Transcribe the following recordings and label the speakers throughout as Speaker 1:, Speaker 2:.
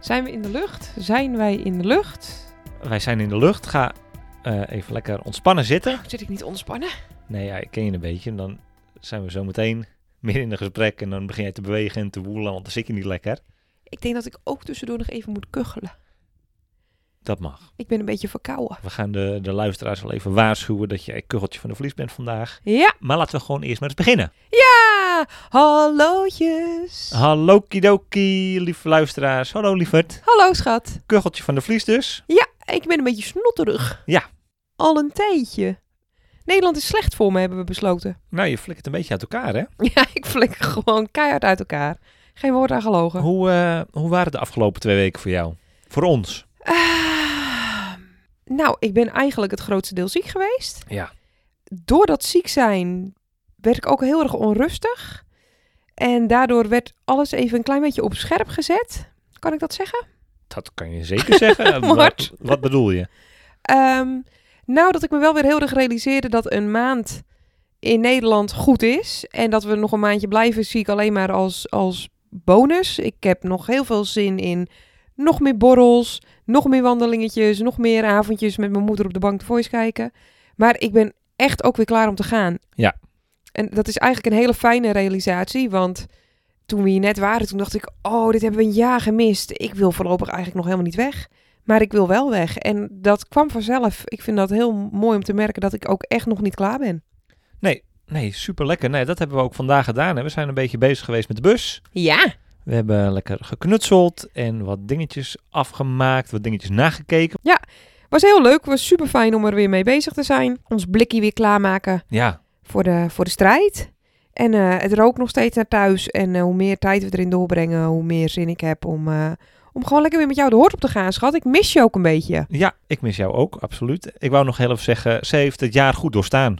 Speaker 1: Zijn we in de lucht? Zijn wij in de lucht?
Speaker 2: Wij zijn in de lucht, ga eh, even lekker ontspannen zitten.
Speaker 1: Nou, Zit ik niet ontspannen?
Speaker 2: Nee, ja, ik ken je een beetje, dan zijn we zo meteen meer in een gesprek en dan begin jij te bewegen en te woelen, want dan zit je niet lekker.
Speaker 1: Ik denk dat ik ook tussendoor nog even moet kuchelen.
Speaker 2: Dat mag.
Speaker 1: Ik ben een beetje verkouden.
Speaker 2: We gaan de, de luisteraars wel even waarschuwen dat jij kuggeltje van de vlies bent vandaag.
Speaker 1: Ja!
Speaker 2: Maar laten we gewoon eerst maar eens beginnen.
Speaker 1: Ja! Hallootjes!
Speaker 2: Hallo kidoki, lieve luisteraars. Hallo lieverd.
Speaker 1: Hallo schat.
Speaker 2: Kucheltje van de Vlies dus.
Speaker 1: Ik ben een beetje snotterig.
Speaker 2: Ja.
Speaker 1: Al een tijdje. Nederland is slecht voor me, hebben we besloten.
Speaker 2: Nou, je flikkert een beetje uit elkaar, hè?
Speaker 1: Ja, ik flikker gewoon keihard uit elkaar. Geen woord aan gelogen.
Speaker 2: Hoe, eh, hoe waren de afgelopen twee weken voor jou? Voor ons?
Speaker 1: Ah, nou, ik ben eigenlijk het grootste deel ziek geweest.
Speaker 2: Ja.
Speaker 1: door dat ziek zijn werd ik ook heel erg onrustig. En daardoor werd alles even een klein beetje op scherp gezet. Kan ik dat zeggen?
Speaker 2: Dat kan je zeker zeggen. Eh,
Speaker 1: Mart.
Speaker 2: Wat, wat bedoel je?
Speaker 1: Ehm, nou, dat ik me wel weer heel erg realiseerde dat een maand in Nederland goed is. En dat we nog een maandje blijven, zie ik alleen maar als, als bonus. Ik heb nog heel veel zin in nog meer borrels, nog meer wandelingetjes, nog meer avondjes met mijn moeder op de bank de voice kijken. Maar ik ben echt ook weer klaar om te gaan.
Speaker 2: Ja.
Speaker 1: En dat is eigenlijk een hele fijne realisatie, want toen we hier net waren, toen dacht ik, oh, dit hebben we een jaar gemist. Ik wil voorlopig eigenlijk nog helemaal niet weg. Maar ik wil wel weg. En dat kwam vanzelf. Ik vind dat heel mooi om te merken dat ik ook echt nog niet klaar ben.
Speaker 2: Nee, super lekker. Nee, dat hebben we ook vandaag gedaan. Hè. We zijn een beetje bezig geweest met de bus.
Speaker 1: Ja.
Speaker 2: We hebben lekker geknutseld en wat dingetjes afgemaakt, wat dingetjes nagekeken.
Speaker 1: Was heel leuk. Was super fijn om er weer mee bezig te zijn. Ons blikje weer klaarmaken
Speaker 2: Ja,
Speaker 1: voor de, voor de strijd. En eh, het rookt nog steeds naar thuis. En eh, hoe meer tijd we erin doorbrengen, hoe meer zin ik heb om, eh, om gewoon lekker weer met jou de hoort op te gaan, schat. Ik mis je ook een beetje.
Speaker 2: ja, ik mis jou ook, absoluut. Ik wou nog heel even zeggen, ze heeft het jaar goed doorstaan.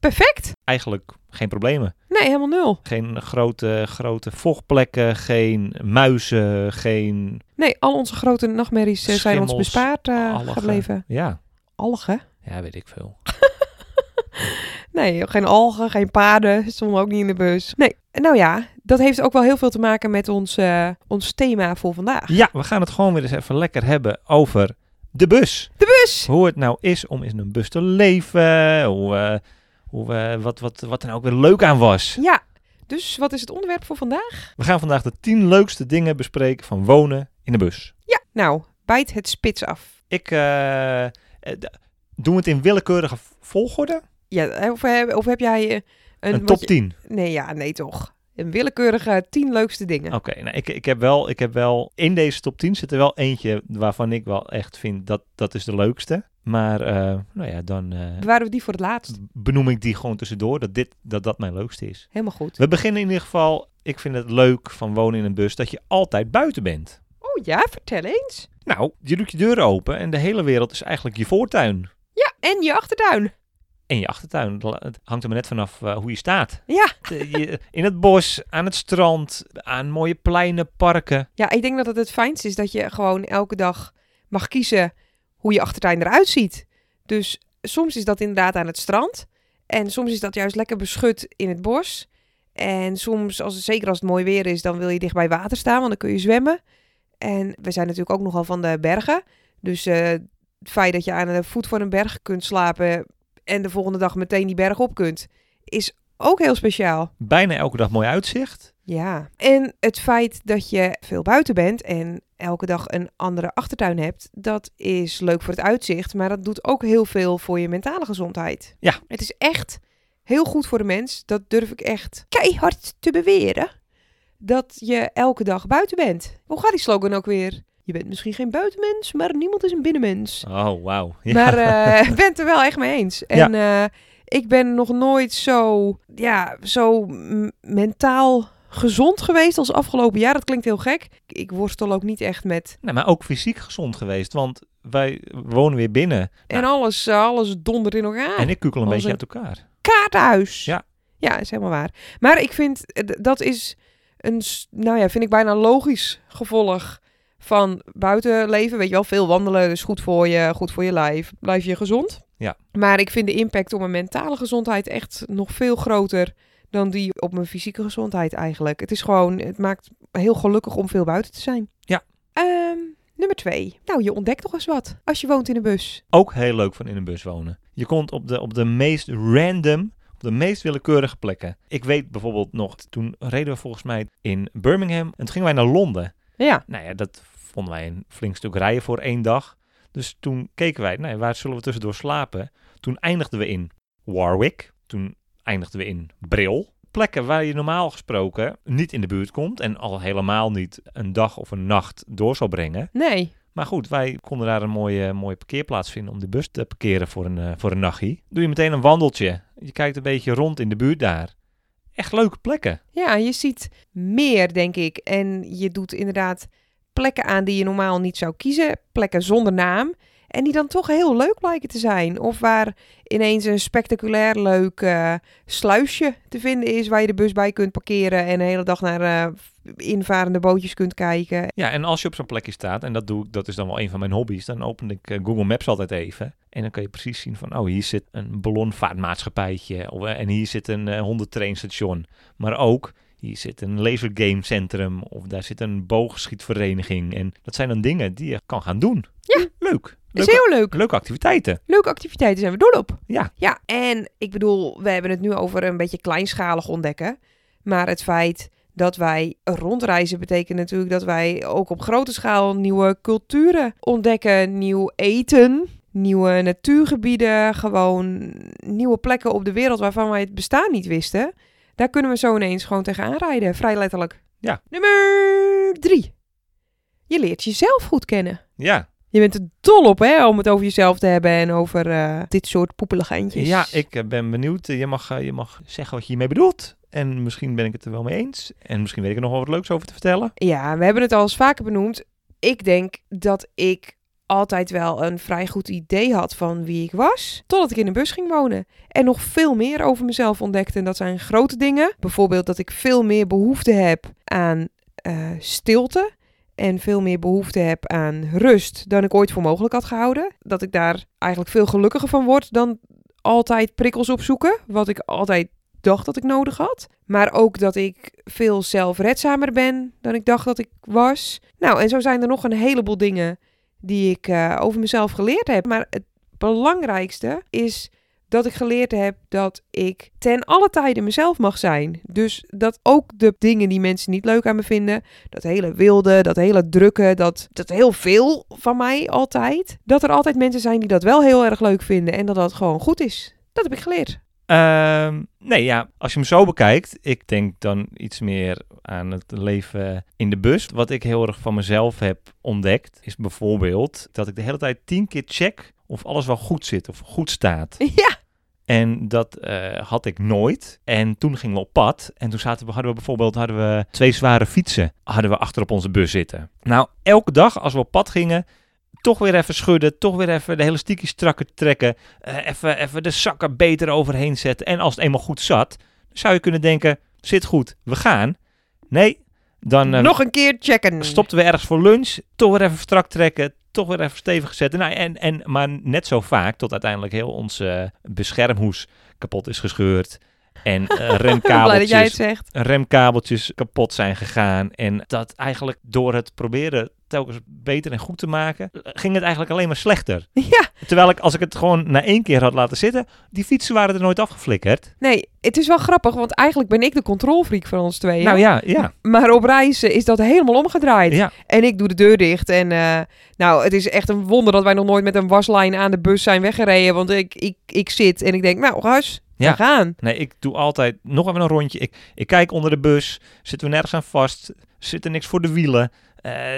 Speaker 1: Perfect.
Speaker 2: Eigenlijk geen problemen.
Speaker 1: Nee, helemaal nul.
Speaker 2: Geen grote, grote vochtplekken, geen muizen, geen...
Speaker 1: Nee, al onze grote nachtmerries eh, zijn ons
Speaker 2: Schimmels,
Speaker 1: bespaard eh,
Speaker 2: algen.
Speaker 1: gebleven.
Speaker 2: Ja,
Speaker 1: Algen?
Speaker 2: ja weet ik veel.
Speaker 1: Nee, geen algen, geen paarden, stonden ook niet in de bus. Nee, nou ja, dat heeft ook wel heel veel te maken met ons, eh, ons thema voor vandaag.
Speaker 2: Ja, we gaan het gewoon weer eens even lekker hebben over de bus.
Speaker 1: De bus!
Speaker 2: Hoe het nou is om in een bus te leven, hoe, eh, hoe, we- wat, wat, wat er nou ook weer leuk aan was.
Speaker 1: Ja, dus wat is het onderwerp voor vandaag?
Speaker 2: We gaan vandaag de 10 leukste dingen bespreken van wonen in de bus.
Speaker 1: Ja, nou, bijt het spits af.
Speaker 2: Ik... eh, eh, d- doen we het in willekeurige volgorde?
Speaker 1: Ja, eh, of, heb- of heb jij eh,
Speaker 2: Een,
Speaker 1: een...
Speaker 2: top
Speaker 1: wat je-
Speaker 2: 10?
Speaker 1: nee, ja, nee toch. Een willekeurige tien leukste dingen.
Speaker 2: Oké, nou, ik, ik, heb wel, ik heb wel in deze top 10 zit er wel eentje waarvan ik wel echt vind dat dat is de leukste. Maar eh, nou ja, dan eh,
Speaker 1: Bewaren we die voor het laatst.
Speaker 2: benoem ik die gewoon tussendoor dat dit, dat, dat mijn leukste is.
Speaker 1: Helemaal goed.
Speaker 2: We beginnen in ieder geval, ik vind het leuk van wonen in een bus dat je altijd buiten bent.
Speaker 1: Oh ja, vertel eens.
Speaker 2: Nou, je doet je deur open en de hele wereld is eigenlijk je voortuin
Speaker 1: Ja, en je achtertuin.
Speaker 2: en je achtertuin. Het hangt er maar net vanaf eh, hoe je staat.
Speaker 1: Ja.
Speaker 2: Eh, je- in het bos, aan het strand, aan mooie pleinen, parken.
Speaker 1: Ja, ik denk dat het het fijnst is dat je gewoon elke dag mag kiezen hoe je achtertuin eruit ziet. Dus soms is dat inderdaad aan het strand. En soms is dat juist lekker beschut in het bos. En soms, als het, zeker als het mooi weer is, dan wil je dicht bij water staan, want dan kun je zwemmen. En we zijn natuurlijk ook nogal van de bergen. Dus eh, het feit dat je aan de voet van een berg kunt slapen en de volgende dag meteen die berg op kunt, is ook heel speciaal.
Speaker 2: Bijna elke dag mooi uitzicht.
Speaker 1: Ja, en het feit dat je veel buiten bent en elke dag een andere achtertuin hebt, dat is leuk voor het uitzicht, maar dat doet ook heel veel voor je mentale gezondheid.
Speaker 2: Ja.
Speaker 1: Het is echt heel goed voor de mens, dat durf ik echt keihard te beweren, dat je elke dag buiten bent. Hoe gaat die slogan ook weer? Je bent misschien geen buitenmens, maar niemand is een binnenmens.
Speaker 2: Oh, wauw. Ja.
Speaker 1: Maar eh, ik ben het er wel echt mee eens. En eh, Ik ben nog nooit zo, ja, zo m- mentaal gezond geweest als afgelopen jaar. Dat klinkt heel gek. Ik worstel ook niet echt met.
Speaker 2: Nee, Nou, maar ook fysiek gezond geweest, want wij wonen weer binnen.
Speaker 1: En alles, eh, alles dondert in elkaar.
Speaker 2: en ik kukkel een
Speaker 1: Ah, als
Speaker 2: beetje
Speaker 1: een-
Speaker 2: uit elkaar.
Speaker 1: kaarthuis.
Speaker 2: Ja.
Speaker 1: Ja, is helemaal waar. Maar ik vind, eh, d- dat is een, s- nou ja, vind ik bijna logisch gevolg van buitenleven. Weet je wel, veel wandelen is goed voor je, goed voor je lijf. Blijf je gezond.
Speaker 2: Ja.
Speaker 1: Maar ik vind de impact op mijn mentale gezondheid echt nog veel groter dan die op mijn fysieke gezondheid eigenlijk. Het is gewoon, het maakt me heel gelukkig om veel buiten te zijn.
Speaker 2: Ja.
Speaker 1: Ehm, nummer twee. Nou, je ontdekt nog eens wat als je woont in een bus.
Speaker 2: Ook heel leuk van in een bus wonen. Je komt op de, op de meest random, op de meest willekeurige plekken. Ik weet bijvoorbeeld nog, toen reden we volgens mij in Birmingham en toen gingen wij naar Londen.
Speaker 1: Ja.
Speaker 2: Nou ja, dat vonden wij een flink stuk rijden voor één dag. Dus toen keken wij, nou ja, waar zullen we tussendoor slapen? Toen eindigden we in Warwick. Toen eindigden we in Bril. Plekken waar je normaal gesproken niet in de buurt komt en al helemaal niet een dag of een nacht door zou brengen.
Speaker 1: Nee.
Speaker 2: Maar goed, wij konden daar een mooie, mooie parkeerplaats vinden om de bus te parkeren voor een, eh, voor een nachtje. Doe je meteen een wandeltje. Je kijkt een beetje rond in de buurt daar. Echt leuke plekken.
Speaker 1: Ja, je ziet meer, denk ik. En je doet inderdaad plekken aan die je normaal niet zou kiezen. Plekken zonder naam. En die dan toch heel leuk blijken te zijn. Of waar ineens een spectaculair leuk eh, sluisje te vinden is. Waar je de bus bij kunt parkeren. En de hele dag naar eh, invarende bootjes kunt kijken.
Speaker 2: Ja, en als je op zo'n plekje staat, en dat doe ik, dat is dan wel een van mijn hobby's, dan open ik eh, Google Maps altijd even. En dan kan je precies zien van, oh, hier zit een ballonvaartmaatschappijtje. Of, eh, en hier zit een eh, hondentrainstation. Maar ook, hier zit een lasergamecentrum. Of daar zit een boogschietvereniging. En dat zijn dan dingen die je kan gaan doen.
Speaker 1: Ja.
Speaker 2: Leuk.
Speaker 1: Is
Speaker 2: Leuke,
Speaker 1: heel leuk.
Speaker 2: leuke activiteiten.
Speaker 1: Leuke activiteiten zijn we dol op.
Speaker 2: Ja.
Speaker 1: Ja, en ik bedoel, we hebben het nu over een beetje kleinschalig ontdekken. Maar het feit dat wij rondreizen betekent natuurlijk dat wij ook op grote schaal nieuwe culturen ontdekken, nieuw eten, nieuwe natuurgebieden, gewoon nieuwe plekken op de wereld waarvan wij het bestaan niet wisten. Daar kunnen we zo ineens gewoon tegenaan rijden, vrij letterlijk.
Speaker 2: Ja.
Speaker 1: Nummer drie. Je leert jezelf goed kennen.
Speaker 2: Ja,
Speaker 1: Je bent er dol op, hè, om het over jezelf te hebben en over eh, dit soort poepelige eindjes.
Speaker 2: ja ik eh, ben benieuwd. Eh, Je mag, eh, je mag zeggen wat je hiermee bedoelt. En misschien ben ik het er wel mee eens. En misschien weet ik er nog wel wat leuks over te vertellen.
Speaker 1: Ja, we hebben het al eens vaker benoemd. Ik denk dat ik altijd wel een vrij goed idee had van wie ik was. Totdat ik in een bus ging wonen. En nog veel meer over mezelf ontdekte. En dat zijn grote dingen. Bijvoorbeeld dat ik veel meer behoefte heb aan eh, stilte. En veel meer behoefte heb aan rust dan ik ooit voor mogelijk had gehouden. Dat ik daar eigenlijk veel gelukkiger van word dan altijd prikkels opzoeken. Wat ik altijd dacht dat ik nodig had. Maar ook dat ik veel zelfredzamer ben dan ik dacht dat ik was. Nou, en zo zijn er nog een heleboel dingen die ik eh, over mezelf geleerd heb. Maar het belangrijkste is dat ik geleerd heb dat ik ten alle tijden mezelf mag zijn. Dus dat ook de dingen die mensen niet leuk aan me vinden, dat hele wilde, dat hele drukke, dat, dat heel veel van mij altijd, dat er altijd mensen zijn die dat wel heel erg leuk vinden en dat dat gewoon goed is. Dat heb ik geleerd.
Speaker 2: Ehm, nee, ja, als je hem zo bekijkt, ik denk dan iets meer aan het leven in de bus. Wat ik heel erg van mezelf heb ontdekt, is bijvoorbeeld dat ik de hele tijd tien keer check of alles wel goed zit of goed staat.
Speaker 1: Ja,
Speaker 2: En dat eh, had ik nooit. En toen gingen we op pad. En toen zaten we, hadden we bijvoorbeeld hadden we twee zware fietsen hadden we achter op onze bus zitten. Nou, elke dag als we op pad gingen, toch weer even schudden. Toch weer even de hele stiekjes strakker trekken. eh, even, even de zakken beter overheen zetten. En als het eenmaal goed zat, zou je kunnen denken, zit goed, we gaan. Nee, dan eh,
Speaker 1: Nog een keer checken.
Speaker 2: stopten we ergens voor lunch. Toch weer even strak trekken. Toch weer even stevig zetten. Nou, en, en, maar net zo vaak tot uiteindelijk heel ons eh, beschermhoes kapot is gescheurd. En eh,
Speaker 1: Ik ben blij dat jij
Speaker 2: remkabeltjes,
Speaker 1: het zegt.
Speaker 2: remkabeltjes kapot zijn gegaan. En dat eigenlijk door het proberen telkens beter en goed te maken, eh, ging het eigenlijk alleen maar slechter.
Speaker 1: Ja,
Speaker 2: Terwijl ik, als ik het gewoon na één keer had laten zitten, die fietsen waren er nooit afgeflikkerd.
Speaker 1: nee, het is wel grappig, want eigenlijk ben ik de controlfreak van ons tweeën.
Speaker 2: Nou ja, ja.
Speaker 1: Maar op reizen is dat helemaal omgedraaid.
Speaker 2: ja.
Speaker 1: En ik doe de deur dicht. En eh, nou, het is echt een wonder dat wij nog nooit met een waslijn aan de bus zijn weggereden. Want ik, ik, ik zit en ik denk, nou, huis, we
Speaker 2: Ja.
Speaker 1: gaan.
Speaker 2: Nee, ik doe altijd nog even een rondje. Ik, ik kijk onder de bus. Zitten we nergens aan vast? Zit er niks voor de wielen? Eh,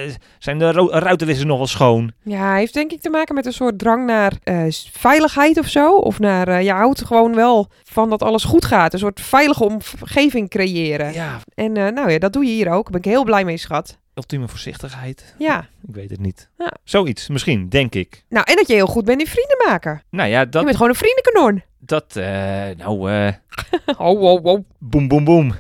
Speaker 2: Eh, zijn de ro- ruitenwissers nog wel schoon?
Speaker 1: Ja, hij heeft denk ik te maken met een soort drang naar eh, s- veiligheid of zo. Of naar, eh, je houdt gewoon wel van dat alles goed gaat. Een soort veilige omgeving creëren.
Speaker 2: Ja,
Speaker 1: En eh, nou ja, dat doe je hier ook. Daar ben ik heel blij mee, schat.
Speaker 2: ultieme voorzichtigheid.
Speaker 1: Ja.
Speaker 2: Ik weet het niet.
Speaker 1: Ja.
Speaker 2: Zoiets, misschien, denk ik.
Speaker 1: Nou, en dat je heel goed bent in vrienden maken.
Speaker 2: Nou ja,
Speaker 1: Je
Speaker 2: dat...
Speaker 1: bent gewoon een vriendenkanon.
Speaker 2: dat eh, nou, eh
Speaker 1: Oh, wow, wow.
Speaker 2: boem, boem, boem.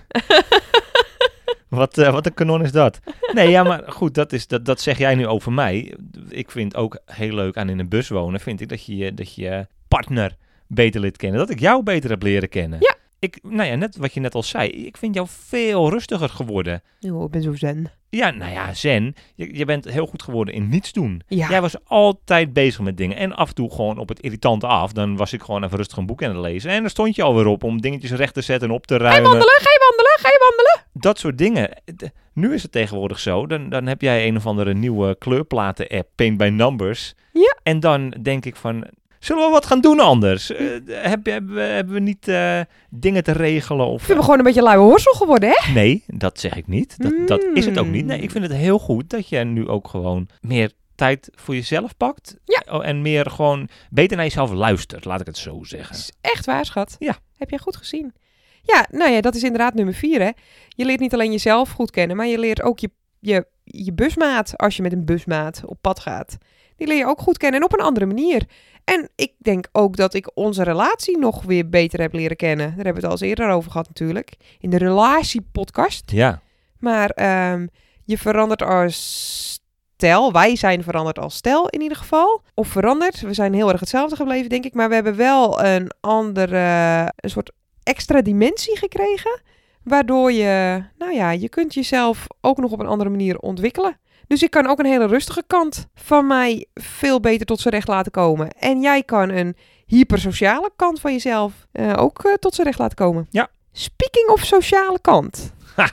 Speaker 2: wat, eh, wat een kanon is dat. Nee, ja, maar goed, dat, is, dat, dat zeg jij nu over mij. Ik vind ook heel leuk aan in een bus wonen, vind ik dat je je- dat je je partner beter leert kennen. Dat ik jou beter heb leren kennen.
Speaker 1: Ja.
Speaker 2: Ik, nou ja, net wat je net al zei, ik vind jou veel rustiger geworden.
Speaker 1: Oh, ik ben zo zen.
Speaker 2: Ja, nou ja, Zen, je, je bent heel goed geworden in niets doen.
Speaker 1: Ja.
Speaker 2: Jij was altijd bezig met dingen. En af en toe gewoon op het irritante af. Dan was ik gewoon even rustig een boek aan het lezen. En dan stond je alweer op om dingetjes recht te zetten en op te
Speaker 1: Ga je
Speaker 2: ruimen.
Speaker 1: wandelen? Ga je wandelen? Ga je wandelen?
Speaker 2: dat soort dingen. D- Nu is het tegenwoordig zo. Dan, dan heb jij een of andere nieuwe kleurplaten-app, Paint by Numbers.
Speaker 1: Ja.
Speaker 2: En dan denk ik van, zullen we wat gaan doen anders? Eh, heb, hebben we- hebben we niet eh, dingen te regelen?
Speaker 1: Ik
Speaker 2: Of,
Speaker 1: vind me gewoon een beetje luie horsel geworden, hè?
Speaker 2: nee, dat zeg ik niet. Dat, dat is het ook niet. Nee,
Speaker 1: Mm.
Speaker 2: ik vind het heel goed dat je nu ook gewoon meer tijd voor jezelf pakt.
Speaker 1: Ja.
Speaker 2: Oh, En meer gewoon beter naar jezelf luistert, laat ik het zo zeggen.
Speaker 1: Dat is echt waar, schat.
Speaker 2: Ja.
Speaker 1: Heb jij goed gezien. Ja, nou ja, dat is inderdaad nummer vier, hè. Je leert niet alleen jezelf goed kennen, maar je leert ook je, je, je busmaat, als je met een busmaat op pad gaat. Die leer je ook goed kennen en op een andere manier. En ik denk ook dat ik onze relatie nog weer beter heb leren kennen. Daar hebben we het al eens eerder over gehad natuurlijk. In de relatiepodcast.
Speaker 2: Ja,
Speaker 1: Maar ehm, je verandert als stijl. Wij zijn veranderd als stijl in ieder geval. Of veranderd. We zijn heel erg hetzelfde gebleven, denk ik. Maar we hebben wel een andere, een soort extra dimensie gekregen. Waardoor je, nou ja, je kunt jezelf ook nog op een andere manier ontwikkelen. Dus ik kan ook een hele rustige kant van mij veel beter tot zijn recht laten komen. En jij kan een hypersociale kant van jezelf eh, ook eh, tot zijn recht laten komen.
Speaker 2: Ja.
Speaker 1: Speaking of sociale kant.
Speaker 2: Ha.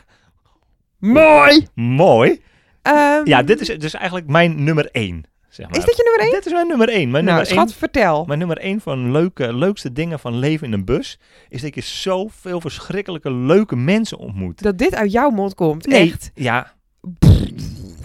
Speaker 1: Mooi!
Speaker 2: mooi.
Speaker 1: Ehm,
Speaker 2: Ja, dit is dus eigenlijk mijn nummer één. Zeg maar.
Speaker 1: Is dit je nummer 1?
Speaker 2: Dit is mijn nummer één. Mijn
Speaker 1: nou,
Speaker 2: nummer één-
Speaker 1: schat, vertel.
Speaker 2: Mijn nummer één van leuke, leukste dingen van leven in een bus is dat je zoveel verschrikkelijke leuke mensen ontmoet.
Speaker 1: Dat dit uit jouw mond komt.
Speaker 2: Nee.
Speaker 1: Echt.
Speaker 2: Ja,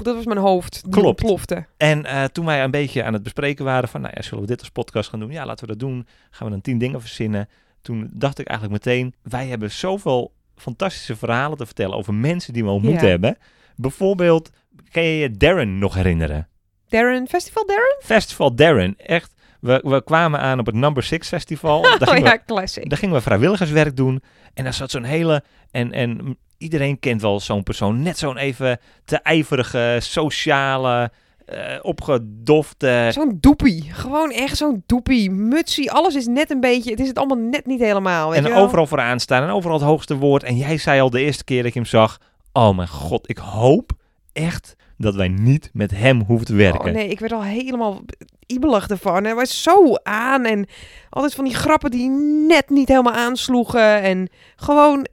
Speaker 1: Dat was mijn hoofd. Die
Speaker 2: Klopt.
Speaker 1: Plofte.
Speaker 2: en eh, toen wij een beetje aan het bespreken waren van, nou ja, zullen we dit als podcast gaan doen? Ja, laten we dat doen. Gaan we dan tien dingen verzinnen? Toen dacht ik eigenlijk meteen, wij hebben zoveel fantastische verhalen te vertellen over mensen die we ontmoet
Speaker 1: Ja.
Speaker 2: hebben. Bijvoorbeeld, kan je je Darren nog herinneren?
Speaker 1: Darren, Festival Darren?
Speaker 2: Festival Darren, echt. We, we kwamen aan op het Number Six Festival. Daar
Speaker 1: Oh
Speaker 2: gingen we
Speaker 1: ja, classic.
Speaker 2: Daar gingen we vrijwilligerswerk doen. En daar zat zo'n hele. En, en iedereen kent wel zo'n persoon. Net zo'n even te ijverige, sociale, eh, opgedofte.
Speaker 1: Zo'n doepie. Gewoon echt zo'n doepie. Mutsie. Alles is net een beetje... Het is het allemaal net niet helemaal, weet
Speaker 2: En
Speaker 1: je wel?
Speaker 2: overal vooraan staan en overal het hoogste woord. En jij zei al de eerste keer dat ik hem zag: Oh mijn god, ik hoop echt dat wij niet met hem hoeven te werken.
Speaker 1: Oh nee, ik werd al helemaal ibelig ervan. Hij was zo aan en altijd van die grappen die net niet helemaal aansloegen. En gewoon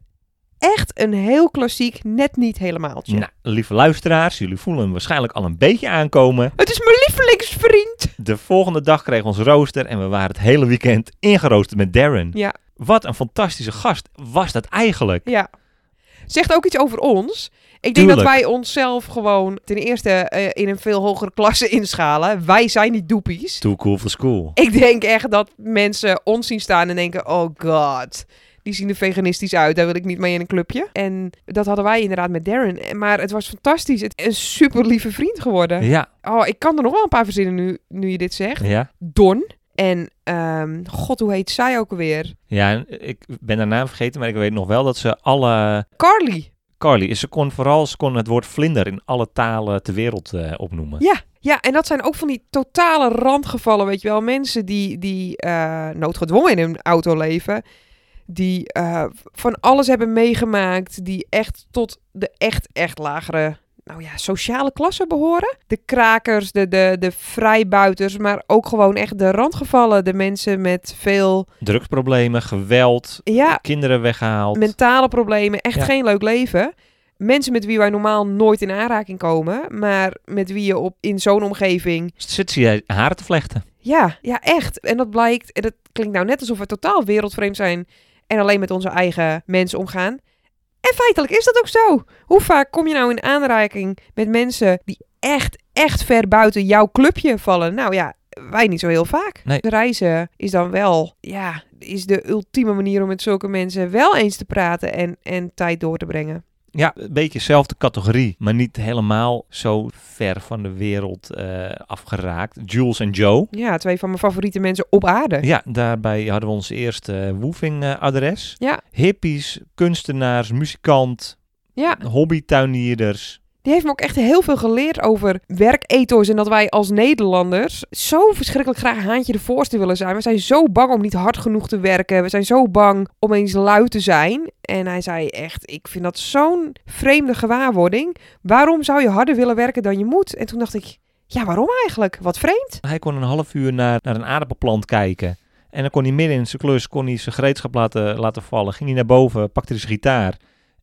Speaker 1: echt een heel klassiek net niet helemaal.
Speaker 2: Nou, lieve luisteraars, jullie voelen hem waarschijnlijk al een beetje aankomen.
Speaker 1: Het is mijn lievelingsvriend.
Speaker 2: De volgende dag kreeg ons rooster en we waren het hele weekend ingeroosterd met Darren.
Speaker 1: Ja.
Speaker 2: Wat een fantastische gast was dat eigenlijk.
Speaker 1: Ja. Zegt ook iets over ons. Ik denk dat
Speaker 2: Tuurlijk.
Speaker 1: wij onszelf gewoon ten eerste eh, in een veel hogere klasse inschalen. Wij zijn niet doepies.
Speaker 2: Too cool for school.
Speaker 1: Ik denk echt dat mensen ons zien staan en denken: oh god. Die zien er veganistisch uit, daar wil ik niet mee in een clubje. En dat hadden wij inderdaad met Darren. Eh, Maar het was fantastisch. Het een super lieve vriend geworden.
Speaker 2: Ja,
Speaker 1: Oh, ik kan er nog wel een paar verzinnen nu, nu je dit zegt.
Speaker 2: ja.
Speaker 1: Don. En ehm, god, hoe heet zij ook alweer?
Speaker 2: Ja, en ik ben haar naam vergeten, maar ik weet nog wel dat ze alle...
Speaker 1: Carly.
Speaker 2: Carly, ze kon vooral ze kon het woord vlinder in alle talen ter wereld eh, opnoemen.
Speaker 1: Ja, ja, en dat zijn ook van die totale randgevallen, weet je wel. Mensen die, die eh, noodgedwongen in hun auto leven. Die eh, van alles hebben meegemaakt. Die echt tot de echt, echt lagere, nou ja, sociale klasse behoren. De krakers, de, de, de vrijbuiters, maar ook gewoon echt de randgevallen. De mensen met veel,
Speaker 2: Drugsproblemen, geweld,
Speaker 1: ja,
Speaker 2: kinderen weggehaald.
Speaker 1: mentale problemen. Echt
Speaker 2: Ja.
Speaker 1: geen leuk leven. Mensen met wie wij normaal nooit in aanraking komen, maar met wie je op, in zo'n omgeving
Speaker 2: Zit ze je haar te vlechten?
Speaker 1: Ja, ja, echt. En dat blijkt, en dat klinkt nou net alsof we totaal wereldvreemd zijn en alleen met onze eigen mensen omgaan. En feitelijk is dat ook zo. Hoe vaak kom je nou in aanraking met mensen die echt, echt ver buiten jouw clubje vallen? Nou ja, wij niet zo heel vaak.
Speaker 2: Nee.
Speaker 1: Reizen is dan wel, ja, is de ultieme manier om met zulke mensen wel eens te praten en, en tijd door te brengen.
Speaker 2: Ja, een beetje dezelfde categorie, maar niet helemaal zo ver van de wereld eh, afgeraakt. Jules en Joe.
Speaker 1: Ja, twee van mijn favoriete mensen op aarde.
Speaker 2: Ja, daarbij hadden we ons eerste eh, woofing-adres.
Speaker 1: Ja.
Speaker 2: Hippies, kunstenaars, muzikant,
Speaker 1: Ja,
Speaker 2: hobbytuinierders.
Speaker 1: die heeft me ook echt heel veel geleerd over werkethos en dat wij als Nederlanders zo verschrikkelijk graag haantje de voorste willen zijn. We zijn zo bang om niet hard genoeg te werken. We zijn zo bang om eens lui te zijn. En hij zei echt, ik vind dat zo'n vreemde gewaarwording. Waarom zou je harder willen werken dan je moet? En toen dacht ik, ja, waarom eigenlijk? Wat vreemd.
Speaker 2: Hij kon een half uur naar, naar een aardappelplant kijken. En dan kon hij midden in zijn klus kon hij zijn gereedschap laten, laten vallen. Ging hij naar boven, pakte hij zijn gitaar.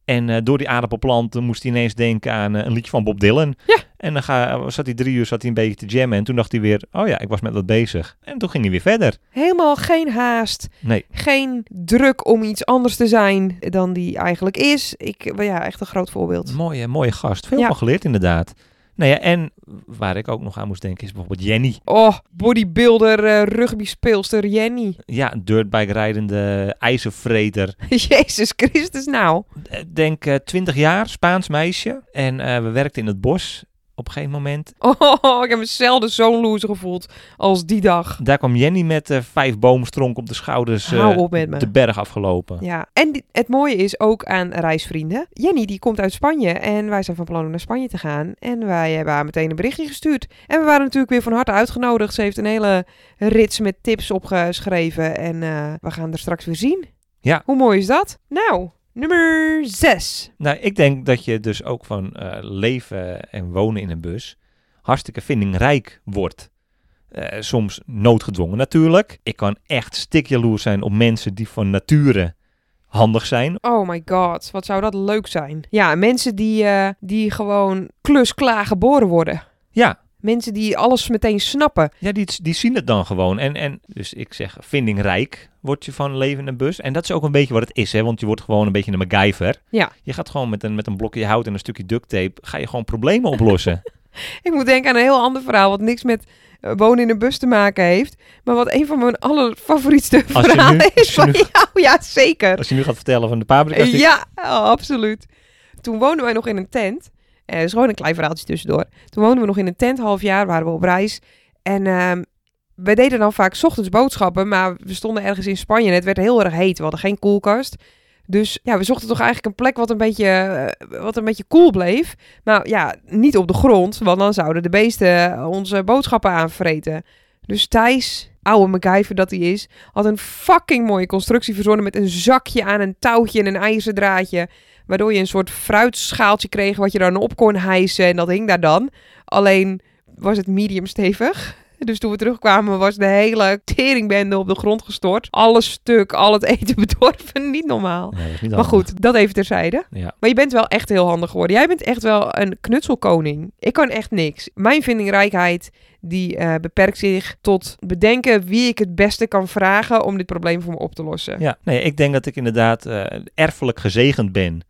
Speaker 2: En eh, door die aardappelplant eh, moest hij ineens denken aan eh, een liedje van Bob Dylan.
Speaker 1: Ja.
Speaker 2: En dan ga, eh, zat hij drie uur zat hij een beetje te jammen. En toen dacht hij weer, oh ja, ik was met wat bezig. En toen ging hij weer verder.
Speaker 1: Helemaal geen haast.
Speaker 2: Nee.
Speaker 1: Geen druk om iets anders te zijn dan die eigenlijk is. Ik, ja, echt een groot voorbeeld.
Speaker 2: Mooie, mooie gast. Veel
Speaker 1: Ja.
Speaker 2: van geleerd inderdaad. Nou ja, en waar ik ook nog aan moest denken is bijvoorbeeld Jenny.
Speaker 1: Oh, bodybuilder, eh, rugbyspeelster Jenny.
Speaker 2: Ja, dirtbike rijdende ijzervreter.
Speaker 1: Jezus Christus nou.
Speaker 2: Eh, Denk eh, 20 jaar, Spaans meisje. En eh, we werkten in het bos op een gegeven moment.
Speaker 1: Oh, ik heb me zelden zo'n loser gevoeld als die dag.
Speaker 2: Daar kwam Jenny met eh, vijf boomstronken op de schouders eh,
Speaker 1: Hou op met me.
Speaker 2: de berg afgelopen.
Speaker 1: Ja, en di- het mooie is ook aan reisvrienden. Jenny die komt uit Spanje en wij zijn van plan om naar Spanje te gaan. En wij hebben haar meteen een berichtje gestuurd. En we waren natuurlijk weer van harte uitgenodigd. Ze heeft een hele rits met tips opgeschreven en eh, we gaan er straks weer zien.
Speaker 2: Ja.
Speaker 1: Hoe mooi is dat? Nou, nummer 6.
Speaker 2: Nou, ik denk dat je dus ook van eh, leven en wonen in een bus hartstikke vindingrijk wordt. Eh, soms noodgedwongen natuurlijk. Ik kan echt stikjaloers zijn op mensen die van nature handig zijn.
Speaker 1: Oh my god, wat zou dat leuk zijn. Ja, mensen die, eh, die gewoon klusklaar geboren worden.
Speaker 2: Ja,
Speaker 1: Mensen die alles meteen snappen.
Speaker 2: ja die, die zien het dan gewoon. En, en dus ik zeg, vindingrijk word je van leven in een bus. En dat is ook een beetje wat het is, hè, want je wordt gewoon een beetje een MacGyver.
Speaker 1: Ja.
Speaker 2: Je gaat gewoon met een, met een blokje hout en een stukje duct tape, ga je gewoon problemen oplossen.
Speaker 1: Ik moet denken aan een heel ander verhaal, wat niks met eh, wonen in een bus te maken heeft. Maar wat een van mijn allerfavorietste
Speaker 2: Als je
Speaker 1: verhalen
Speaker 2: nu- als
Speaker 1: is
Speaker 2: je
Speaker 1: van
Speaker 2: nu-
Speaker 1: jou. Ja, zeker.
Speaker 2: Als je nu gaat vertellen van de paprika stick-
Speaker 1: Ja, oh, absoluut. Toen woonden wij nog in een tent. Eh, is gewoon een klein verhaaltje tussendoor. Toen woonden we nog in een tent, half jaar waren we op reis. En ehm we deden dan vaak 's ochtends boodschappen, maar we stonden ergens in Spanje en het werd heel erg heet. We hadden geen koelkast. Dus ja, we zochten toch eigenlijk een plek wat een beetje, eh, wat een beetje cool bleef. Maar Nou ja, niet op de grond, want dan zouden de beesten onze boodschappen aanvreten. Dus Thijs, oude MacGyver dat hij is, had een fucking mooie constructie verzonnen met een zakje aan een touwtje en een ijzerdraadje. Waardoor je een soort fruitschaaltje kreeg wat je dan op kon hijsen en dat hing daar dan. Alleen was het medium stevig. Dus toen we terugkwamen was de hele teringbende op de grond gestort. Alles stuk, al het eten bedorven, niet normaal.
Speaker 2: Nee, dat is niet
Speaker 1: Maar
Speaker 2: handig.
Speaker 1: goed, dat even terzijde.
Speaker 2: eh, Ja.
Speaker 1: Maar je bent wel echt heel handig geworden. Jij bent echt wel een knutselkoning. Ik kan echt niks. Mijn vindingrijkheid die eh, beperkt zich tot bedenken wie ik het beste kan vragen om dit probleem voor me op te lossen.
Speaker 2: Ja, nee, ik denk dat ik inderdaad eh, erfelijk gezegend ben.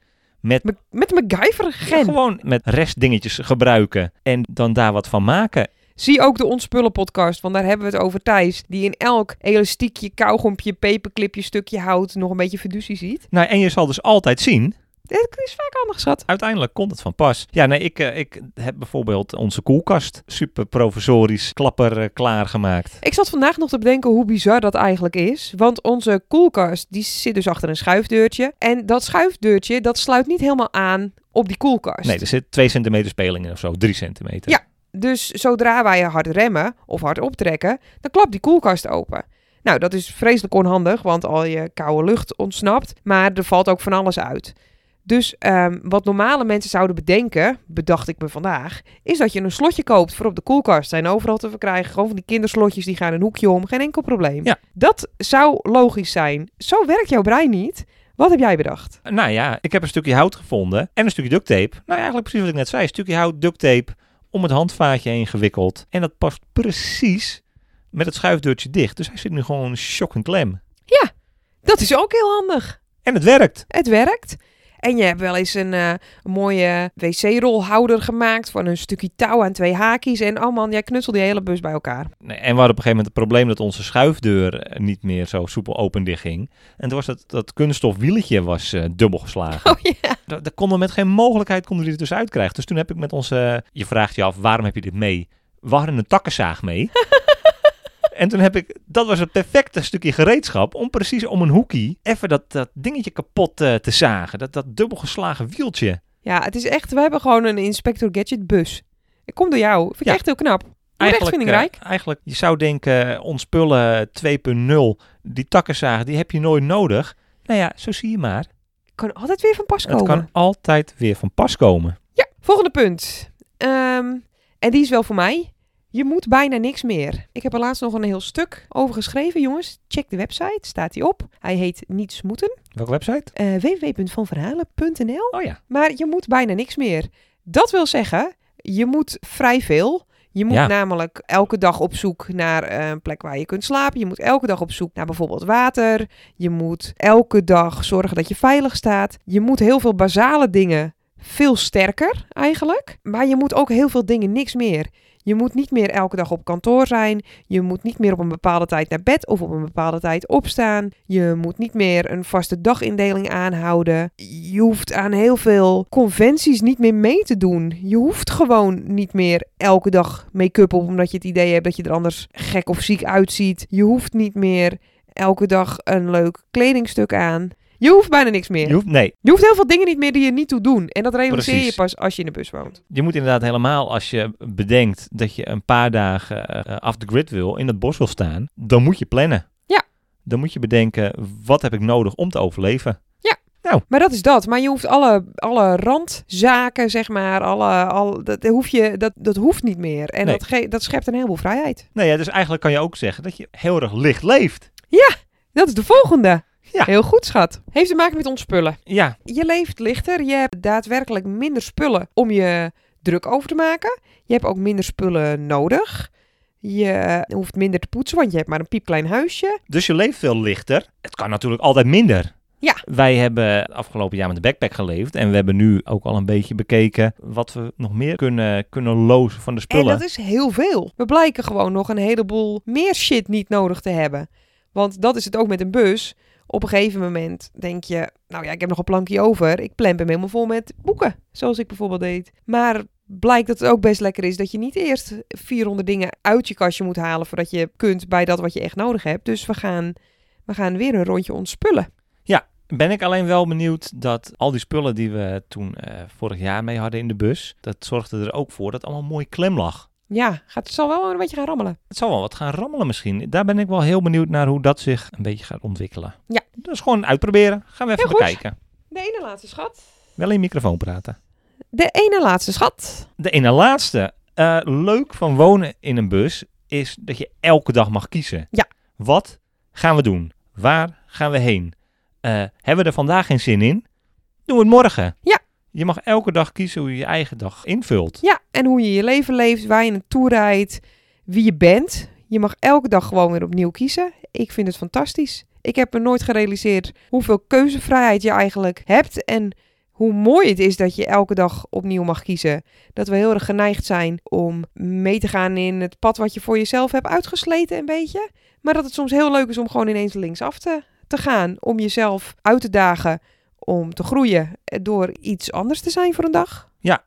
Speaker 2: Met
Speaker 1: Me- Met een MacGyver-gen.
Speaker 2: gewoon met restdingetjes gebruiken en dan daar wat van maken.
Speaker 1: Zie ook de Ontspullen podcast, want daar hebben we het over Thijs. Die in elk elastiekje, kauwgompje, paperclipje, stukje hout nog een beetje fiducie ziet.
Speaker 2: Nou, en je zal dus altijd zien,
Speaker 1: Dat is vaak handig, schat.
Speaker 2: uiteindelijk komt het van pas. Ja, nee, ik, eh, ik heb bijvoorbeeld onze koelkast super provisorisch klapper eh, klaargemaakt.
Speaker 1: Ik zat vandaag nog te bedenken hoe bizar dat eigenlijk is. Want onze koelkast die zit dus achter een schuifdeurtje. En dat schuifdeurtje dat sluit niet helemaal aan op die koelkast.
Speaker 2: Nee, er zit twee centimeter speling in of zo, drie centimeter.
Speaker 1: Ja. Dus zodra wij hard remmen of hard optrekken, dan klapt die koelkast open. Nou, dat is vreselijk onhandig, want al je koude lucht ontsnapt, maar er valt ook van alles uit. Dus ehm, wat normale mensen zouden bedenken, bedacht ik me vandaag, is dat je een slotje koopt voor op de koelkast. Zijn overal te verkrijgen, gewoon van die kinderslotjes, die gaan een hoekje om, geen enkel probleem.
Speaker 2: Ja.
Speaker 1: Dat zou logisch zijn. Zo werkt jouw brein niet. Wat heb jij bedacht?
Speaker 2: Nou ja, ik heb een stukje hout gevonden en een stukje duct tape. Nou, eigenlijk precies wat ik net zei. Een stukje hout, duct tape, om het handvaatje heen gewikkeld. En dat past precies met het schuifdeurtje dicht. Dus hij zit nu gewoon shock en klem.
Speaker 1: Dat is ook heel handig.
Speaker 2: En het werkt.
Speaker 1: Het werkt. En je hebt wel eens een, eh, een mooie wc-rolhouder gemaakt van een stukje touw aan twee haakjes. En oh man, jij knutselt die hele bus bij elkaar.
Speaker 2: Nee, En we hadden op een gegeven moment het probleem dat onze schuifdeur eh, niet meer zo soepel open dicht ging. En toen was dat, dat kunststof wieletje was eh, dubbel geslagen.
Speaker 1: Oh ja.
Speaker 2: Da- Daar konden we met geen mogelijkheid konden we die er dus uitkrijgen. Dus toen heb ik met onze... Je vraagt je af, waarom heb je dit mee? We hadden een takkenzaag mee. en toen heb ik... Dat was het perfecte stukje gereedschap om precies om een hoekie... even dat, dat dingetje kapot eh, te zagen. Dat, dat dubbel geslagen wieltje.
Speaker 1: Ja, het is echt, we hebben gewoon een Inspector Gadget bus. Ik kom door jou. Vind ik
Speaker 2: Ja.
Speaker 1: echt heel knap. Hoe rechtvinderijk.
Speaker 2: eh, eigenlijk, je zou denken, eh, ontspullen 2.0, die takkenzaag, die heb je nooit nodig. Nou ja, zo zie je maar.
Speaker 1: Ik kan altijd weer van pas komen.
Speaker 2: eh, Het kan altijd weer van pas komen.
Speaker 1: Ja, volgende punt. Ehm, en die is wel voor mij. Je moet bijna niks meer. Ik heb er laatst nog een heel stuk over geschreven, jongens. Check de website, staat die op. Hij heet Niet Smoeten,
Speaker 2: Welke website?
Speaker 1: eh, www.vanverhalen.nl.
Speaker 2: Oh ja.
Speaker 1: Maar je moet bijna niks meer. Dat wil zeggen, je moet vrij veel. Je moet
Speaker 2: Ja.
Speaker 1: namelijk elke dag op zoek naar eh, een plek waar je kunt slapen. Je moet elke dag op zoek naar bijvoorbeeld water. Je moet elke dag zorgen dat je veilig staat. Je moet heel veel basale dingen veel sterker eigenlijk. Maar je moet ook heel veel dingen niks meer. Je moet niet meer elke dag op kantoor zijn. Je moet niet meer op een bepaalde tijd naar bed of op een bepaalde tijd opstaan. Je moet niet meer een vaste dagindeling aanhouden. Je hoeft aan heel veel conventies niet meer mee te doen. Je hoeft gewoon niet meer elke dag make-up op omdat je het idee hebt dat je er anders gek of ziek uitziet. Je hoeft niet meer elke dag een leuk kledingstuk aan. Je hoeft bijna niks meer.
Speaker 2: Je hoeft, nee,
Speaker 1: Je hoeft heel veel dingen niet meer die je niet toe doen. En dat realiseer
Speaker 2: Precies.
Speaker 1: je pas als je in de bus woont.
Speaker 2: je moet inderdaad helemaal, als je bedenkt dat je een paar dagen eh, af de grid wil, in het bos wil staan, dan moet je plannen.
Speaker 1: Ja.
Speaker 2: Dan moet je bedenken, wat heb ik nodig om te overleven?
Speaker 1: Maar dat is dat. Maar je hoeft alle, alle randzaken, zeg maar, alle, al, dat, hoef je, dat, dat hoeft niet meer. En
Speaker 2: Nee.
Speaker 1: dat, ge- dat schept een heleboel vrijheid.
Speaker 2: Nou ja, dus eigenlijk kan je ook zeggen dat je heel erg licht leeft.
Speaker 1: Dat is de volgende.
Speaker 2: Ja.
Speaker 1: Heel goed, schat. Heeft te maken met ons spullen.
Speaker 2: Ja,
Speaker 1: Je leeft lichter. Je hebt daadwerkelijk minder spullen om je druk over te maken. Je hebt ook minder spullen nodig. Je hoeft minder te poetsen, want je hebt maar een piepklein huisje.
Speaker 2: Dus je leeft veel lichter. Het kan natuurlijk altijd minder.
Speaker 1: Ja.
Speaker 2: Wij hebben afgelopen jaar met de backpack geleefd. En we hebben nu ook al een beetje bekeken wat we nog meer kunnen, kunnen lozen van de
Speaker 1: En
Speaker 2: spullen.
Speaker 1: dat is heel veel. We blijken gewoon nog een heleboel meer shit niet nodig te hebben. Want dat is het ook met een bus. Op een gegeven moment denk je, nou ja, ik heb nog een plankje over. Ik plemp hem helemaal vol met boeken, zoals ik bijvoorbeeld deed. Maar blijkt dat het ook best lekker is dat je niet eerst 400 dingen uit je kastje moet halen voordat je kunt bij dat wat je echt nodig hebt. Dus we gaan, we gaan weer een rondje ontspullen.
Speaker 2: Ben ik alleen wel benieuwd dat al die spullen die we toen eh, vorig jaar mee hadden in de bus. Dat zorgde er ook voor dat het allemaal mooi klem lag.
Speaker 1: Ja, gaat, het zal wel een beetje gaan rammelen.
Speaker 2: Het zal wel wat gaan rammelen misschien. Daar ben ik wel heel benieuwd naar hoe dat zich een beetje gaat ontwikkelen.
Speaker 1: Ja.
Speaker 2: Dus gewoon uitproberen. Gaan we even
Speaker 1: Heel goed.
Speaker 2: bekijken.
Speaker 1: De ene laatste schat.
Speaker 2: Wel in je microfoon praten.
Speaker 1: De ene laatste schat.
Speaker 2: De ene laatste. eh, leuk van wonen in een bus is dat je elke dag mag kiezen.
Speaker 1: Ja.
Speaker 2: Wat gaan we doen? Waar gaan we heen? Eh, hebben we er vandaag geen zin in? Doen we het morgen.
Speaker 1: Ja.
Speaker 2: Je mag elke dag kiezen hoe je je eigen dag invult.
Speaker 1: Ja, en hoe je je leven leeft, waar je naartoe rijdt, wie je bent. Je mag elke dag gewoon weer opnieuw kiezen. Ik vind het fantastisch. Ik heb me nooit gerealiseerd hoeveel keuzevrijheid je eigenlijk hebt en hoe mooi het is dat je elke dag opnieuw mag kiezen. Dat we heel erg geneigd zijn om mee te gaan in het pad wat je voor jezelf hebt uitgesleten een beetje. Maar dat het soms heel leuk is om gewoon ineens linksaf te, te gaan. Om jezelf uit te dagen om te groeien eh, door iets anders te zijn voor een dag.
Speaker 2: Ja.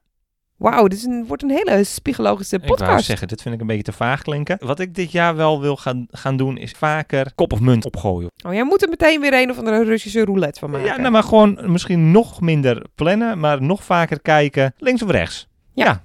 Speaker 1: Wauw, dit is een, wordt een hele psychologische
Speaker 2: Ik wou
Speaker 1: podcast.
Speaker 2: zeggen, dit vind ik een beetje te vaag klinken. Wat ik dit jaar wel wil gaan, gaan doen is vaker kop of munt opgooien.
Speaker 1: Oh, jij moet er meteen weer een of andere Russische roulette van maken.
Speaker 2: Ja, nou, maar gewoon misschien nog minder plannen, maar nog vaker kijken links of rechts.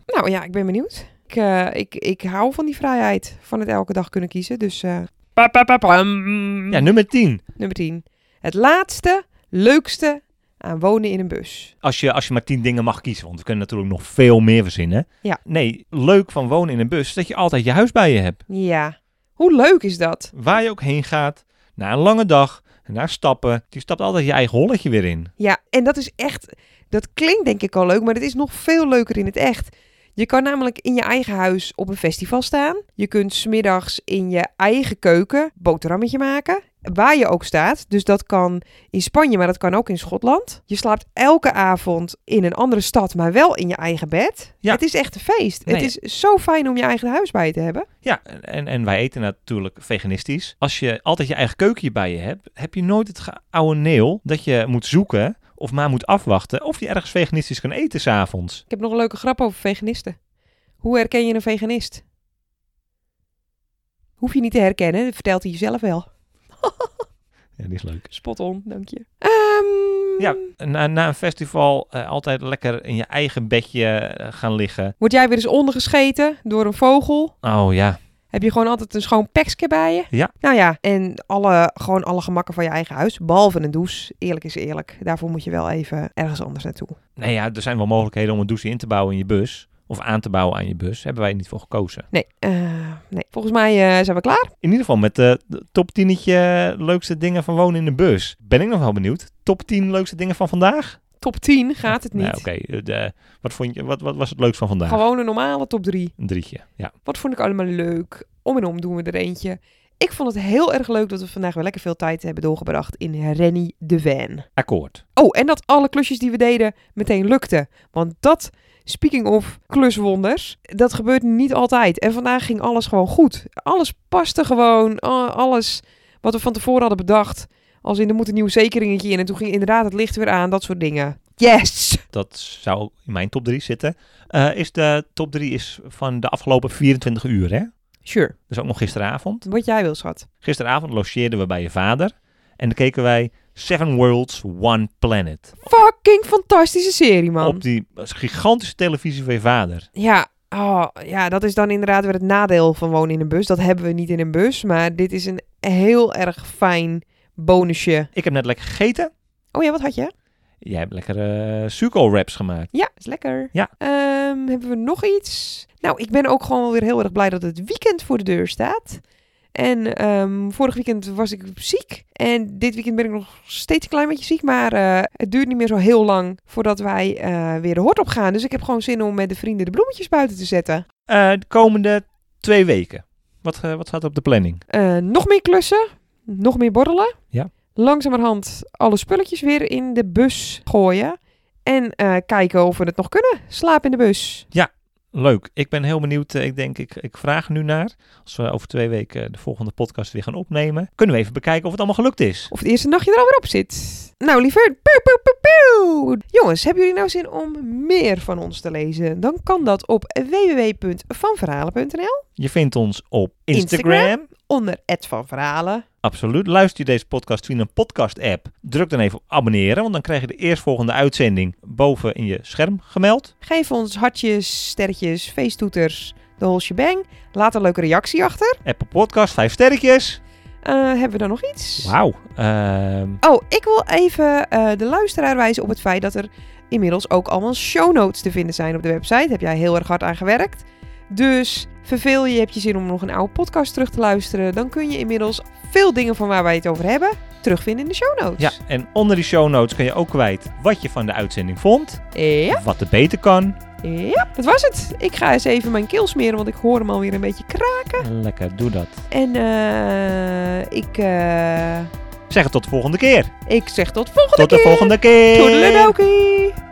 Speaker 1: Nou ja, ik ben benieuwd. Ik, eh, ik, ik hou van die vrijheid, van het elke dag kunnen kiezen. Dus eh, pa, pa, pa, pam.
Speaker 2: Ja, nummer 10.
Speaker 1: nummer 10. Het laatste, leukste aan wonen in een bus.
Speaker 2: als je, als je maar tien dingen mag kiezen. Want we kunnen natuurlijk nog veel meer verzinnen.
Speaker 1: Ja.
Speaker 2: Nee, leuk van wonen in een bus is dat je altijd je huis bij je hebt.
Speaker 1: Ja, hoe leuk is dat?
Speaker 2: Waar je ook heen gaat, na een lange dag, na stappen. Je stapt altijd je eigen holletje weer in.
Speaker 1: Ja, en dat is echt, dat klinkt denk ik al leuk, maar het is nog veel leuker in het echt. Je kan namelijk in je eigen huis op een festival staan. Je kunt smiddags in je eigen keuken boterhammetje maken. waar je ook staat. Dus dat kan in Spanje, maar dat kan ook in Schotland. Je slaapt elke avond in een andere stad, maar wel in je eigen bed.
Speaker 2: Ja.
Speaker 1: Het is echt een feest.
Speaker 2: Nee.
Speaker 1: Het is zo fijn om je eigen huis bij je te hebben.
Speaker 2: Ja, en, en wij eten natuurlijk veganistisch. Als je altijd je eigen keukentje bij je hebt, heb je nooit het oude neel dat je moet zoeken of maar moet afwachten of je ergens veganistisch kan eten s'avonds.
Speaker 1: Ik heb nog een leuke grap over veganisten. Hoe herken je een veganist? Hoef je niet te herkennen, dat vertelt hij jezelf wel.
Speaker 2: Ja, die is leuk.
Speaker 1: Spot on, dank je. Ehm,
Speaker 2: Ja. Na, na een festival eh, altijd lekker in je eigen bedje eh, gaan liggen.
Speaker 1: Word jij weer eens ondergescheten door een vogel?
Speaker 2: Oh ja,
Speaker 1: Heb je gewoon altijd een schoon peksje bij je?
Speaker 2: Ja.
Speaker 1: Nou ja, en alle, gewoon alle gemakken van je eigen huis. Behalve een douche. Eerlijk is eerlijk. Daarvoor moet je wel even ergens anders naartoe.
Speaker 2: Nou ja, er zijn wel mogelijkheden om een douche in te bouwen in je bus. Of aan te bouwen aan je bus. Hebben wij niet voor gekozen.
Speaker 1: Nee, eh, nee. volgens mij eh, zijn we klaar.
Speaker 2: In ieder geval met de de top 10 leukste dingen van wonen in de bus. Ben ik nog wel benieuwd. Top 10 leukste dingen van vandaag?
Speaker 1: Top 10 gaat het niet.
Speaker 2: Nou, Oké, eh, de- wat, vond je- wat, wat was het leukst van vandaag?
Speaker 1: Gewoon een normale top 3.
Speaker 2: Een drietje. Ja.
Speaker 1: Wat vond ik allemaal leuk? Om en om doen we er eentje. Ik vond het heel erg leuk dat we vandaag weer lekker veel tijd hebben doorgebracht in Rennie de Van.
Speaker 2: Akkoord.
Speaker 1: Oh, en dat alle klusjes die we deden meteen lukten. Want dat, speaking of kluswonders, dat gebeurt niet altijd. En vandaag ging alles gewoon goed. Alles paste gewoon. A- Alles wat we van tevoren hadden bedacht. Als in, er moet een nieuw zekeringetje in. En toen ging inderdaad het licht weer aan. Dat soort dingen. Yes!
Speaker 2: Dat zou in mijn top 3 zitten. Eh, is de top 3 is van de afgelopen 24 uur, hè?
Speaker 1: Sure.
Speaker 2: Dus ook nog gisteravond.
Speaker 1: Wat jij wil, schat.
Speaker 2: Gisteravond logeerden we bij je vader. En dan keken wij Seven Worlds, One Planet.
Speaker 1: Fucking fantastische serie, man.
Speaker 2: Op die gigantische televisie van je vader.
Speaker 1: Ja, oh, ja, dat is dan inderdaad weer het nadeel van wonen in een bus. Dat hebben we niet in een bus. Maar dit is een heel erg fijn bonusje.
Speaker 2: Ik heb net lekker gegeten.
Speaker 1: Oh ja, wat had je?
Speaker 2: Jij hebt lekker eh suco wraps gemaakt.
Speaker 1: Ja, is lekker.
Speaker 2: Ja.
Speaker 1: Ehm, hebben we nog iets? Nou, ik ben ook gewoon weer heel erg blij dat het weekend voor de deur staat. En ehm, vorig weekend was ik ziek. En dit weekend ben ik nog steeds een klein beetje ziek. Maar eh, het duurt niet meer zo heel lang voordat wij eh, weer de hort op gaan. Dus ik heb gewoon zin om met de vrienden de bloemetjes buiten te zetten.
Speaker 2: Eh, de komende twee weken. Wat, eh, wat staat er op de planning?
Speaker 1: Eh, nog meer klussen. Nog meer borrelen.
Speaker 2: Ja.
Speaker 1: Langzamerhand alle spulletjes weer in de bus gooien. En eh, kijken of we het nog kunnen. Slaap in de bus.
Speaker 2: Leuk. Ik ben heel benieuwd. eh, ik denk, ik, ik vraag nu naar. Als we over twee weken de volgende podcast weer gaan opnemen. Kunnen we even bekijken of het allemaal gelukt is.
Speaker 1: Of het eerste nachtje er alweer op zit. Nou, liever. Pew, pew, pew, pew. Jongens, hebben jullie nou zin om meer van ons te lezen? Dan kan dat op www.vanverhalen.nl
Speaker 2: Je vindt ons op
Speaker 1: Instagram?
Speaker 2: Instagram.
Speaker 1: onder het van verhalen.
Speaker 2: Absoluut. Luister je deze podcast via een podcast-app? Druk dan even op abonneren, want dan krijg je de eerstvolgende uitzending boven in je scherm gemeld.
Speaker 1: Geef ons hartjes, sterretjes, feesttoeters, de whole shebang. Laat een leuke reactie achter.
Speaker 2: Apple Podcast, vijf sterretjes.
Speaker 1: Eh, hebben we dan nog iets?
Speaker 2: Wauw. Ehm,
Speaker 1: Oh, ik wil even eh, de luisteraar wijzen op het feit dat er inmiddels ook allemaal show notes te vinden zijn op de website. Heb jij heel erg hard aan gewerkt. Dus verveel je, heb je zin om nog een oude podcast terug te luisteren, dan kun je inmiddels veel dingen van waar wij het over hebben terugvinden in de show notes.
Speaker 2: Ja, en onder die show notes kun je ook kwijt wat je van de uitzending vond,
Speaker 1: Ja,
Speaker 2: wat er beter kan.
Speaker 1: ja, dat was het. Ik ga eens even mijn keel smeren, want ik hoor hem alweer een beetje kraak.
Speaker 2: Lekker, doe dat.
Speaker 1: En eh, ik, eh,
Speaker 2: Zeg het tot de volgende keer.
Speaker 1: ik zeg tot volgende
Speaker 2: Tot de
Speaker 1: keer.
Speaker 2: volgende keer.
Speaker 1: Toedeledokie.